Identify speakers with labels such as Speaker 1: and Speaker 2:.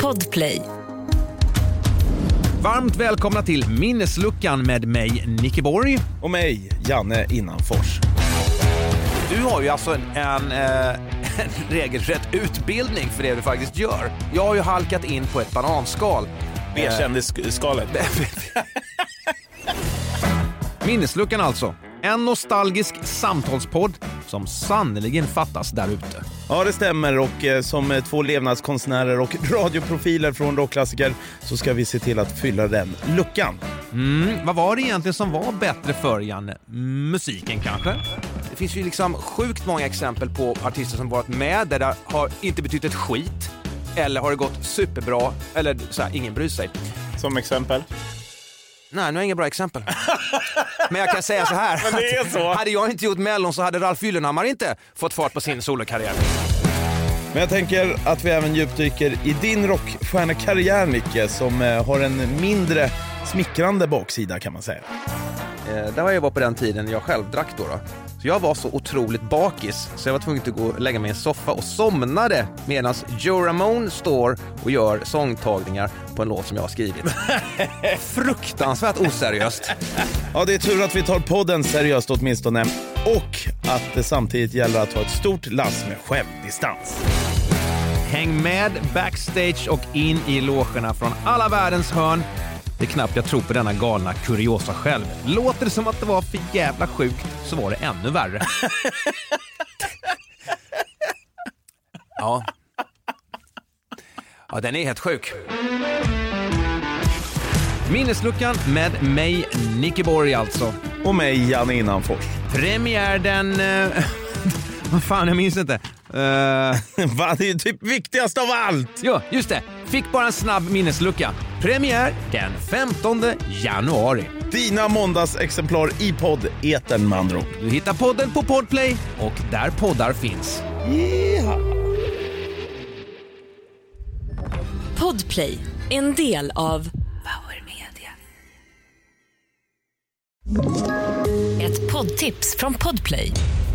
Speaker 1: Podplay.
Speaker 2: Varmt välkomna till Minnesluckan med mig, Nicke Borg.
Speaker 3: Och mig, Janne Innanfors.
Speaker 2: Du har ju alltså en, en, eh, en regelrätt utbildning för det du faktiskt gör. Jag har ju halkat in på ett bananskal.
Speaker 3: B-kändisskalet.
Speaker 2: Minnesluckan alltså. En nostalgisk samtalspodd som sannerligen fattas där ute.
Speaker 3: Ja, det stämmer. Och eh, som eh, två levnadskonstnärer och radioprofiler från rockklassiker så ska vi se till att fylla den luckan.
Speaker 2: Mm, vad var det egentligen som var bättre förr, Janne? Musiken kanske? Det finns ju liksom sjukt många exempel på artister som varit med där det har inte betytt ett skit. Eller har det gått superbra, eller så här, ingen bryr sig.
Speaker 4: Som exempel.
Speaker 2: Nej, nu har jag inga bra exempel. Men jag kan säga så här.
Speaker 4: Men det är så.
Speaker 2: att Hade jag inte gjort Mellon så hade Ralf Gyllenhammar inte fått fart på sin solokarriär.
Speaker 3: Men jag tänker att vi även djupdyker i din rockstjärnekarriär, Nicke, som eh, har en mindre smickrande baksida kan man säga.
Speaker 2: Eh, där var jag var på den tiden jag själv drack då, då. Så jag var så otroligt bakis så jag var tvungen att gå och lägga mig i en soffa och somnade medan Joe Ramone står och gör sångtagningar på en låt som jag har skrivit. Fruktansvärt oseriöst.
Speaker 3: Ja, det är tur att vi tar podden seriöst åtminstone. Och att det samtidigt gäller att ha ett stort lass med självdistans.
Speaker 2: Häng med backstage och in i logerna från alla världens hörn. Det är knappt jag tror på denna galna kuriosa själv. Låter det som att det var för jävla sjukt så var det ännu värre. ja. Ja, den är helt sjuk. Minnesluckan med mig, Nicke Borg alltså.
Speaker 3: Och mig, Janne Innanfors.
Speaker 2: Premiär den... eh, Vad fan, jag minns inte. Eh,
Speaker 3: Va? Det är ju typ viktigast av allt!
Speaker 2: Jo, just det. Fick bara en snabb minneslucka. Premiär den 15 januari.
Speaker 3: Dina måndagsexemplar i podd Eten med andra ord.
Speaker 2: Du hittar podden på Podplay och där poddar finns.
Speaker 1: Podplay, en del av Power Media. Ett poddtips från Podplay.